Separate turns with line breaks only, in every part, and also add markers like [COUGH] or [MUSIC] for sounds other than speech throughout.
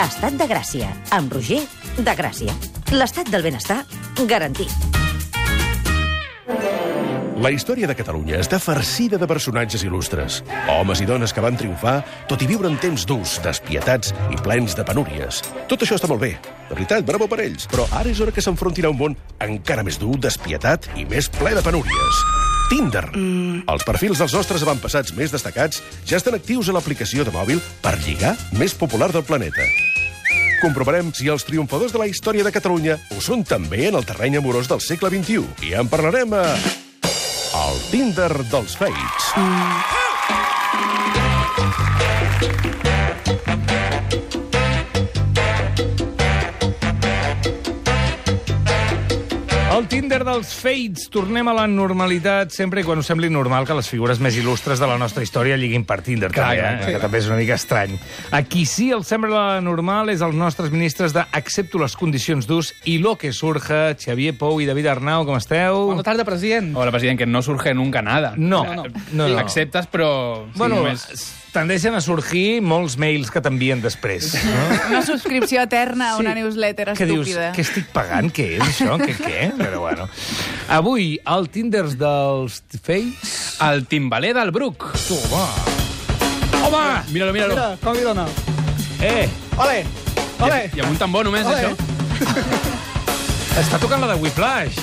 Estat de Gràcia, amb Roger de Gràcia. L'estat del benestar garantit.
La història de Catalunya està farcida de personatges il·lustres. Homes i dones que van triomfar, tot i viure en temps durs, despietats i plens de penúries. Tot això està molt bé. De veritat, bravo per ells. Però ara és hora que s'enfrontin a un món encara més dur, despietat i més ple de penúries. Tinder. Mm. Els perfils dels nostres avantpassats més destacats ja estan actius a l'aplicació de mòbil per lligar més popular del planeta. Comprovarem si els triomfadors de la història de Catalunya ho són també en el terreny amorós del segle XXI. I en parlarem a... El Tinder dels Fates.
El Tinder dels Fates. Tornem a la normalitat sempre i quan us sembli normal que les figures més il·lustres de la nostra història lliguin per Tinder, Clar, també, eh? que també és una mica estrany. A qui sí els sembla normal és als nostres ministres de Accepto les condicions d'ús i lo que surja, Xavier Pou i David Arnau, com esteu?
Buenas tardes, presidente.
Hola, president, que no surge nunca nada.
No,
Eh,
no, no, no.
Acceptes, però... sí,
bueno,
només-
tendeixen a sorgir molts mails que t'envien després. No?
Una subscripció eterna a una
Sí.
newsletter
que dius,
estúpida.
què estic pagant? Què és això? Què, què? Però bueno. Avui, al Tinder dels Fates...
El timbaler del Bruc.
Home! Home!
Míralo, míralo. Mira.
Mira, com hi dona.
Eh!
Ole, ole.
I amb un tambor només,
Ole.
Olé. això.
Està tocant la de Whiplash.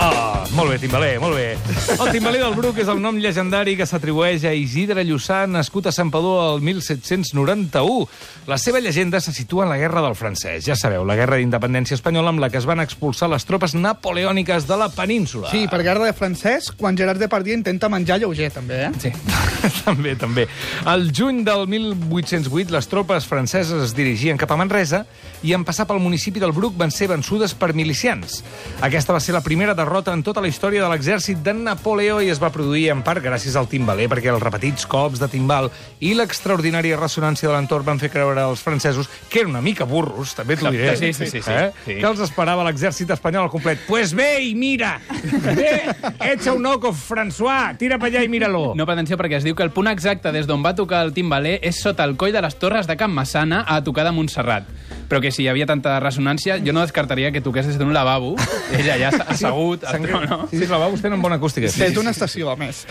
Ah, molt bé, Timbaler, molt bé. El Timbaler del Bruc és el nom legendari que s'atribueix a Isidre Llussà, nascut a Santpedor el 1791. La seva llegenda se situa en la Guerra del Francès. Ja sabeu, la Guerra d'Independència Espanyola amb la que es van expulsar les tropes napoleòniques de la península.
Sí, per guerra de francès, quan Gerard Depardieu intenta menjar lleuger, també, eh?
Sí. [LAUGHS] també, també. Al juny del 1808, les tropes franceses es dirigien cap a Manresa i en passar pel municipi del Bruc van ser vençudes per milicians. Aquesta va ser la primera derrota en tota la història de l'exèrcit de Napoleó i es va produir en part gràcies al timbaler, perquè els repetits cops de timbal i l'extraordinària ressonància de l'entorn van fer creure als francesos que eren una mica burros, també t'ho diré.
Sí, sí, sí, sí.
Eh?
Sí.
Que els esperava l'exèrcit espanyol al complet. Pues ve i mira! Ve, echa un oco, François! Tira per allà i mira-lo!
No, però atenció, perquè es diu que el punt exacte des d'on va tocar el timbaler és sota el coll de les torres de Can Massana a tocar de Montserrat. Però que si hi havia tanta ressonància, jo no descartaria que toqués des d'un
[LAUGHS]
lavabo, ella ja s'ha assegut... No, no.
Sí, sí, la va vostè amb bona acústica.
Fet una estació, a més.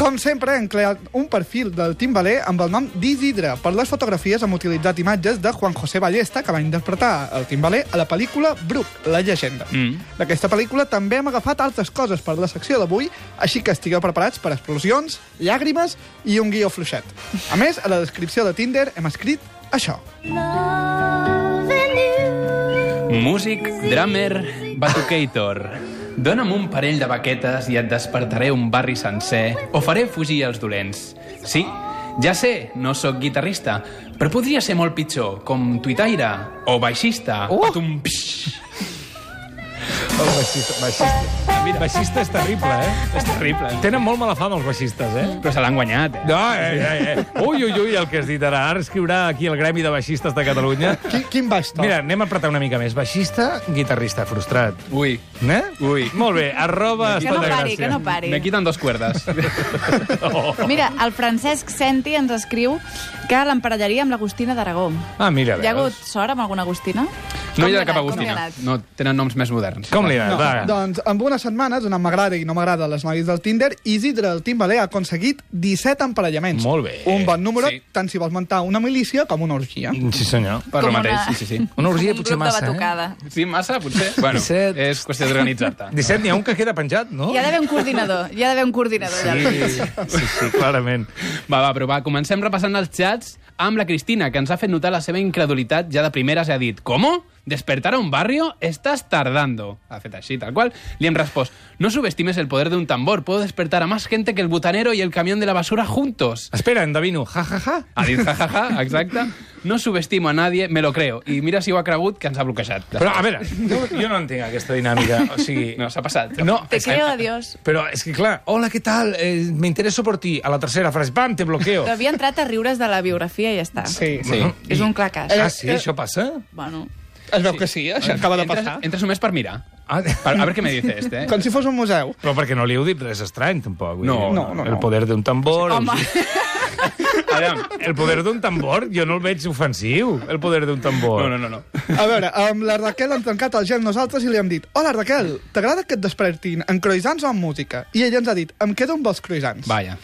Com sempre, hem creat un perfil del timbaler amb el nom d'Isidre. Per les fotografies hem utilitzat imatges de Juan José Ballesta, que va interpretar el timbaler a la pel·lícula Brook, la llegenda.
Mm.
D'aquesta pel·lícula també hem agafat altres coses per la secció d'avui, així que estigueu preparats per explosions, llàgrimes i un guió fluixet. A més, a la descripció de Tinder hem escrit això.
Músic, drummer, batucator. Dóna'm un parell de baquetes i et despertaré un barri sencer o faré fugir els dolents. Sí, ja sé, no sóc guitarrista, però podria ser molt pitjor, com tuitaire o baixista.
Oh!
Patum, psh.
El baixista, baixista. Mira, baixista és terrible, eh?
És terrible.
Tenen molt mala fama els baixistes, eh?
Però se l'han guanyat, eh?
No, eh, eh, eh. Ui, ui, ui, el que has dit ara. Ara escriurà aquí el Gremi de Baixistes de Catalunya.
Quin, quin baix to.
Mira, anem a apretar una mica més. Baixista, guitarrista frustrat.
Ui,
Eh?
Ui.
Molt bé, arroba...
Que no
Estat de
pari,
Gràcia.
que no pari.
me quiten dos cuerdas.
[LAUGHS] Mira, el Francesc Senti ens escriu que l'emparellaria amb l'Agustina d'Aragó.
Ah, mira,
Hi ha hagut
veus.
sort amb alguna Agustina?
No
Com
hi
li
ha cap
anat, com li
Agustina.
ha anat?
No, tenen noms més moderns.
Com li ha
No,
anat? No,
doncs, en unes setmanes, on m'agrada i no m'agrada les noies del Tinder, Isidre, el timbaler, ha aconseguit 17 emparellaments.
Molt bé.
Un bon número,
Sí.
sí. Mm. tant si vols muntar una milícia com una orgia.
Sí, senyor.
Per lo
Com
mateix,
una-
sí, sí, sí.
Una orgia
Com
potser
Un
massa,
grup de
eh?
batucada.
Sí, massa, potser? Bueno,
Disset.
és qüestió d'organitzar-te.
17 n'hi ha un que queda penjat, no?
Hi ha d'haver un coordinador, hi ha d'haver un coordinador. allà.
Oh. Sí, sí, sí, clarament.
Va, va, però va, comencem repassant els xats amb la Cristina, que ens ha fet notar la seva incredulitat ja de primeres i ha dit «¿Cómo? ¿Despertar a un barrio? Estás tardando». Ha fet així, tal qual. Li hem respost «No subestimes el poder de un tambor. Puedo despertar a más gente que el butanero y el camión de la basura juntos».
Espera, endevino. Ja, ja, ja.
Ha dit «Ja, ja, ja, exacte. No subestimo a nadie, me lo creo». I mira si ho ha cregut, que ens ha bloquejat.
Però, a veure, jo, jo no entenc aquesta dinàmica. O sigui...
No, s'ha passat.
No,
Te
és que-
creo a Dios.
Però és que, clar, hola, què tal? Eh, me intereso por ti. A la tercera frase, pam, te bloqueo.
Però havia entrat a riure's de la biografia i ja està.
Sí.
Sí.
És un clacàs.
Ah, sí? Això passa?
Bueno,
Es veu que sí, eh? això acaba de
Entres,
passar.
entres només per mirar.
Ah,
Per, a veure què me dice este. eh?
Com si fos un museu.
però perquè no li heu dit res estrany, tampoc. vull
No,
dir,
no, no,
El
no.
Doncs
[LAUGHS]
poder d'un tambor...
home,
o sigui,
Aviam.
El poder d'un tambor, jo no el veig ofensiu, el poder d'un tambor.
No, no, no, no.
A veure, amb la Raquel hem trencat el gel nosaltres i li hem dit Hola Raquel, t'agrada que et despertin en croissants o amb música? I ella ens ha dit, em quedo amb els croissants.
Vaja.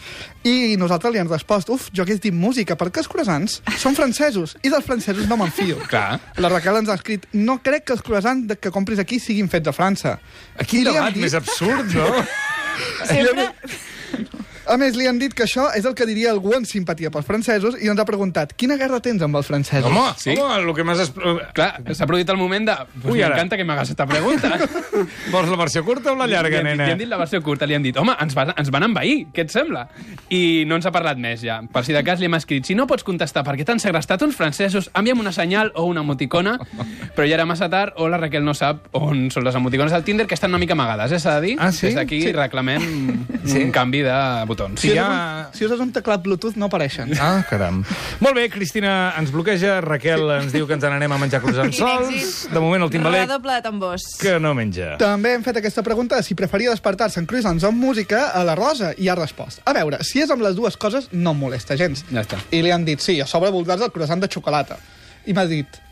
I nosaltres li hem respost, uf, jo hagués dit música, perquè els croissants són francesos i dels francesos no me'n fio.
Clar.
La Raquel ens ha escrit, no crec que els croissants de- que compris aquí siguin fets a França.
Quin
I li hem
debat
dit-
més absurd, no?
Sempre...
A més, li han dit que això és el que diria algú en simpatia pels francesos i ens ha preguntat, quina guerra tens amb els francesos?
Home, sí?
Sí.
home, el que m'has... expl-
Clar, s'ha produït el moment de... Pues
Ui, ara.
M'encanta que m'hagas aquesta pregunta.
Vols la versió curta o la [LAUGHS]
Li
llarga,
han dit-
nena?
Li han dit la versió curta, li han dit, home, ens, va, ens van envair, què et sembla? I no ens ha parlat més, ja. Per si de cas li hem escrit, si no pots contestar perquè t'han segrestat uns francesos, envia'm una senyal o una emoticona, però ja era massa tard o la Raquel no sap on són les emoticones del Tinder, que estan una mica amagades, eh, s'ha de dir.
Ah, sí?
Des d'aquí
Sí.
reclamem sí. un canvi de botons.
Sí,
Si, ja...
ja-
un, si uses un teclat Bluetooth no apareixen.
Ah, caram. Molt bé, Cristina ens bloqueja, Raquel ens diu que ens n'anem a menjar croissants
Quin
sols.
èxit.
De moment el timbaler
Redoble de tambors.
que no menja.
També hem fet aquesta pregunta de si preferia despertar-se en croissants o amb música a la Rosa i ha respost. A veure, si és amb les dues coses, no em molesta gens.
Ja està.
I li han dit, sí, a sobre voldràs el croissant de xocolata. I m'ha dit,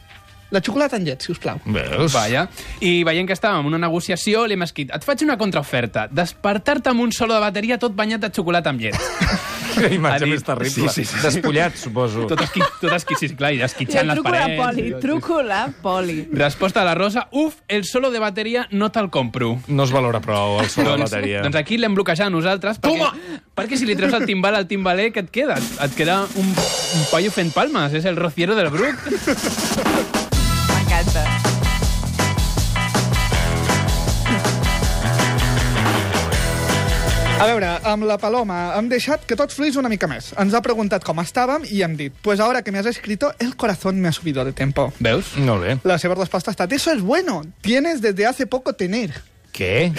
la xocolata en llet, si us plau.
Veus? [LAUGHS]
Vaja. I veient que estàvem en una negociació, li hem escrit, et faig una contraoferta, despertar-te amb un solo de bateria tot banyat de xocolata amb
[LAUGHS]
llet.
Que imatge
Ara
més
mi-
terrible.
Sí, sí, sí.
Despullat, suposo.
tot, esqui, tot esqui, sí, clar, i
Jo
esquitxant les
truco la
parets.
poli, truco la poli.
Resposta de la Rosa, uf, el solo de bateria no te'l compro.
No es valora prou el sol de
Doncs,
bateria.
doncs aquí l'hem bloquejat nosaltres perquè, Toma! perquè si li treus el timbal al timbaler què et queda? Et, et queda un, un paio fent palmes, és el rociero del Bruc
M'encanta.
A veure, amb la Paloma hem deixat que tot fluís una mica més. Ens ha preguntat com estàvem i hem dit, pues ahora que me has escrito, el corazón me ha subido de tempo.
Veus?
Molt bé.
La seva resposta ha estat, eso es bueno, tienes desde hace poco tener.
Què?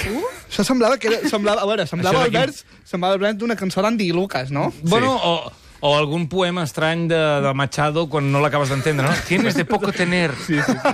Això semblava que era, semblava, a veure, semblava
Això de
el
quin-
vers, semblava el vers d'una cançó d'Andy Lucas, no?
Bueno, o, o algun poema estrany de, de Machado quan no l'acabes d'entendre, no? Tienes de poco tener.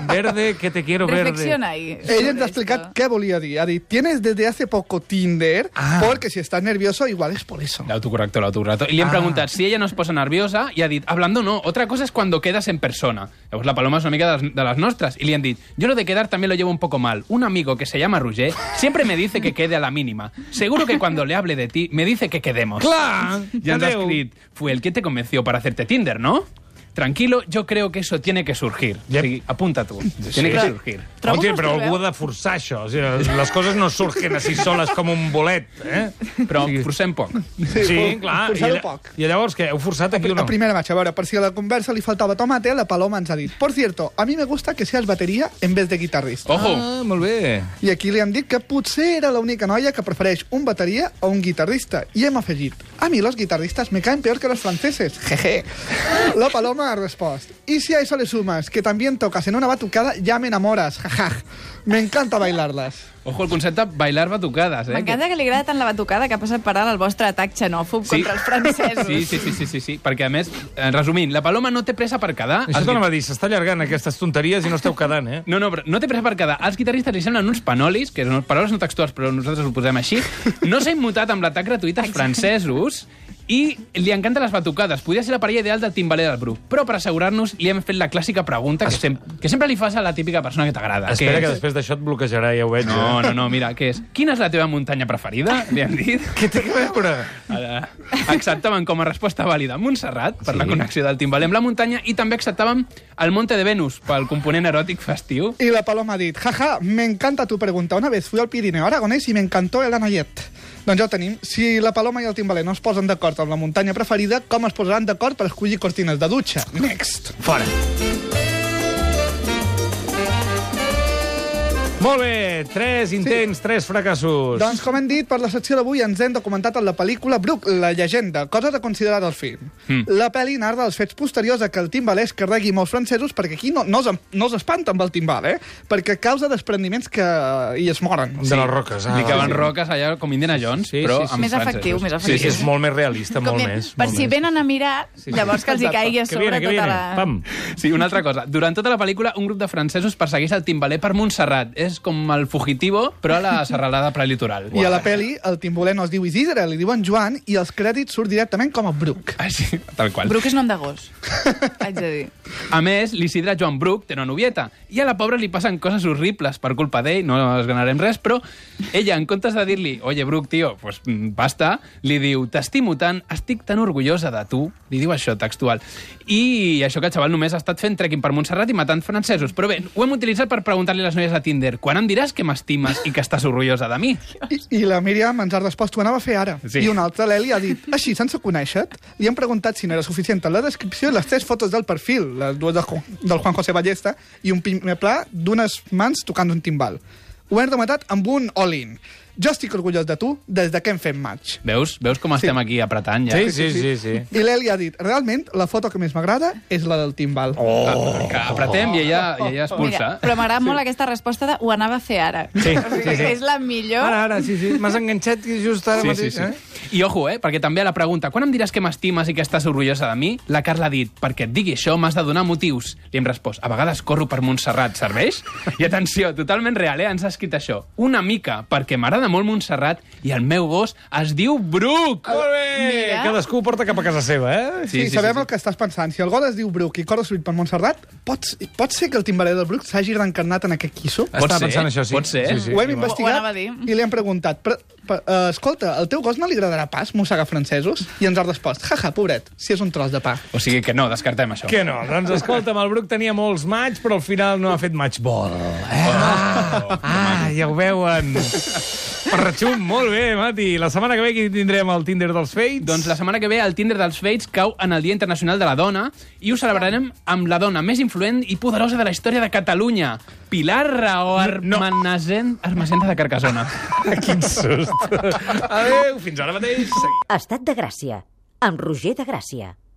Verde que te quiero verde.
Reflexiona ahí.
Ella ens
sobre
ha explicat
esto.
què volia dir. Ha dit, tienes desde hace poco Tinder,
Ah.
porque si estás nervioso igual es por eso.
L'autocorrector, l'autocorrector. I li hem
Ah.
preguntat si ella no es posa nerviosa i ha dit, hablando no, otra cosa es cuando quedas en persona. Llavors la Paloma és una mica de les, de les nostres. I li han dit, yo lo de quedar también lo llevo un poco mal. Un amigo que se llama Roger siempre me dice que quede a la mínima. Seguro que cuando le hable de ti me dice que quedemos.
Clar!
Y ens ha
Adéu.
escrit, fue el que te convenció para hacerte Tinder, ¿no? Tranquilo, yo creo que eso tiene que surgir.
Yep.
Sí, apunta tú. Tiene que
Però-
surgir.
Trobo
Oye,
que
però
ho estàs
algú ha de forçar això. O sigui, les coses no surgen així soles com un bolet, eh?
Però forcem poc.
Sí, sí clar. I,
forçar-ho
lla-
poc.
I llavors què? Heu forçat aquí o
La
no?
primera matxa, a veure, per si a la conversa li faltava tomate, la Paloma ens ha dit Por cierto, a mi me gusta que seas bateria en vez de guitarrista.
Ojo!
Ah, molt bé.
I aquí li han dit que potser era l'única noia que prefereix un bateria o un guitarrista. I hem afegit, a mi los guitarristas me caen peor que los franceses. [LAUGHS] Jeje. La Paloma ha respost, y si a eso le sumas que también tocas en una batucada, ya me enamoras. Jaja. Me encanta bailarlas.
Ojo, el concepte bailar batucades, eh?
M'encanta que li agrada tant la batucada que ha passat per alt el vostre atac xenòfob contra els francesos.
Sí, sí, sí, sí, sí, sí, perquè a més, eh, resumint, la Paloma no té pressa per quedar...
Això
Els
t'anava
guit-
a dir, s'està allargant aquestes tonteries i no esteu quedant, eh?
No, no, però no té pressa per quedar. Als guitarristes li semblen uns panolis, que són paraules no textuals, però nosaltres ho posem així. No s'ha immutat amb l'atac gratuït als francesos i li encanten les batucades. Podria ser la parella ideal del timbaler del Bru. Però per assegurar-nos li hem fet la clàssica pregunta que, sem que sempre li fas a la típica persona que t'agrada.
Espera que
és-
després d'això et bloquejarà, ja ho veig.
No,
eh?
no, no, mira, què és? Quina és la teva muntanya preferida? Li han dit.
Què té a veure?
Ara, Eh, acceptaven com a resposta vàlida Montserrat per la connexió del timbal amb la muntanya i també acceptaven el Monte de Venus pel component eròtic festiu.
Y la paloma ha dit, jaja, me encanta tu pregunta. Una vez fui al Pirineu Aragonès i me encantó el anellet. Doncs ja ho tenim. Si la paloma i el timbaler no es posen d'acord amb la muntanya preferida, com es posaran d'acord per escollir cortines de dutxa? Next.
Fora. Molt bé, tres intents, tres fracassos.
Doncs com hem dit, per la secció d'avui ens hem documentat en la pel·lícula Brook, la llegenda, cosa de considerar del film. Mm. La pel·li narra els fets posteriors a que el timbaler es carregui molts francesos perquè aquí no, no, es, no s'espanta amb el timbal, eh? Perquè causa desprendiments que hi es moren.
De les roques. ah,
Li caben
vale.
roques allà com Indiana Jones,
Sí, sí,
però
sí, sí.
amb
Més
francesos.
efectiu, més
Sí,
efectiu.
sí, és molt més realista, molt més.
per
molt
si
més.
venen a mirar, llavors que els hi caigui a
Que
sobre
viene, que viene.
tota la...
Pam.
Sí, una altra cosa. Durant tota la pel·lícula, un grup de francesos persegueix el timbaler per Montserrat. És és com el fugitivo, però a la serralada prelitoral.
I a la pel·li el timboler no es diu Isidre, li diuen Joan i els crèdits surt directament com a Bruc.
Ah, sí, tal qual.
Bruc és nom de
[LAUGHS]
gos, haig de dir.
A més, l'Isidre Joan Bruc té una novieta i a la pobra li passen coses horribles per culpa d'ell, no es ganarem res, però ella, en comptes de dir-li, oye, Bruc, tio, pues, mm, basta, li diu, t'estimo tant, estic tan orgullosa de tu, li diu això textual. I això que el xaval només ha estat fent trekking per Montserrat i matant francesos, però bé, ho hem utilitzat per preguntar-li a les noies de Tinder, quan em diràs que m'estimes i que estàs orgullosa de mi?
I, I la Míriam ens ha respost, ho anava a fer ara.
Sí.
Sí. I una altra, l'Eli, ha dit, així, sense conèixer-te, li han preguntat si no era suficient la descripció i les tres fotos del perfil, les dues del, Ju- del Juan José Ballesta i un primer pla d'unes mans tocant un timbal. Ho hem rematat amb un all-in. Jo estic orgullós de tu des de que hem fet match.
Veus, veus com estem aquí apretant ja?
Sí, sí, sí, sí.
I l'Eli ha dit, realment, la foto que més m'agrada és la del timbal. Oh.
Que apretem i ella, i ella
Mira,
expulsa.
però m'agrada molt aquesta resposta de ho anava a fer ara.
Sí,
O sigui,
sí, sí.
És la millor.
Ara, ara, sí, sí. M'has enganxat just ara
Sí, sí,
mateix.
sí.
Eh?
I ojo, eh, perquè també a la pregunta quan em diràs que m'estimes i que estàs orgullosa de mi, la Carla ha dit, perquè et digui això m'has de donar motius. Li hem respost, a vegades corro per Montserrat, serveix? I atenció, totalment real, eh, ens ha escrit això. Una mica, perquè m'agrada molt Montserrat i el meu gos es diu Bruc.
Molt bé!
Mira.
Eh, Cadascú ho porta cap a casa seva, eh?
Sí, sí, sí, sabem sí, el que estàs pensant. Si el gol es diu Bruc i corre subit per Montserrat, pot, pot ser que el timbaler del Bruc s'hagi reencarnat en aquest quisso?
Pot
Estava
ser,
pensant això, sí.
pot ser.
Sí, sí.
ho hem
Ho
investigat
anava a dir.
i li hem preguntat però, però, uh, escolta, al teu gos no li agradarà pas mossegar francesos? I ens ha respost jaja, pobret, si és un tros de pa
O sigui que no, descartem això.
Que no? Doncs escolta'm, el Bruc tenia molts maig, però al final no ha fet matchball. Eh? Ah, ah, ja ho veuen. Parratxum, molt bé, Mati. La setmana que ve aquí tindrem el Tinder dels Fates.
Doncs la setmana que ve el Tinder dels Fates cau en el Dia Internacional de la Dona i ho celebrarem amb la dona més influent i poderosa de la història de Catalunya, Pilar Raó
No.
Armanasent, Armasenta de Carcassona.
Quin sust. Adéu, fins ara mateix.
Estat de Gràcia, amb Roger de Gràcia,